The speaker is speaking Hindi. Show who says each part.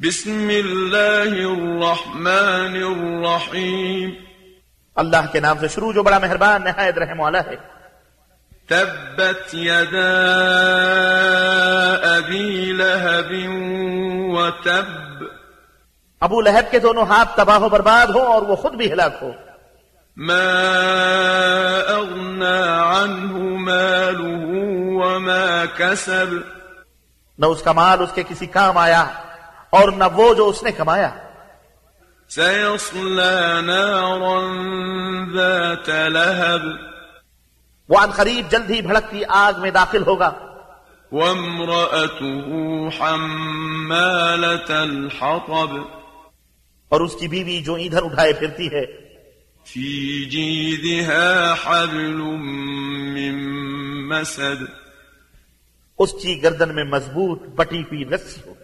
Speaker 1: بسم الله الرحمन الرحیم
Speaker 2: अल्लाह के नाम से शुरू जो बड़ा मेहरबान नहायत रहम वाला है
Speaker 1: تبت يدا أبي لهب وتب
Speaker 2: अबू लहब के दोनों हाथ तबाह बर्बाद हो और वो खुद भी हिलाक हो
Speaker 1: ما أغنى عنه ماله وما كسب
Speaker 2: न उसका माल उसके किसी काम आया और न वो जो उसने कमाया
Speaker 1: سيصلى نارا ذات لهب
Speaker 2: वो अन करीब जल्द ही भड़कती आग में दाखिल होगा
Speaker 1: وامرأته حمالة الحطب
Speaker 2: और उसकी बीवी जो ईंधन उठाए फिरती है
Speaker 1: في جيدها حبل من مسد
Speaker 2: उसकी गर्दन में मजबूत बटी हुई रस्सी हो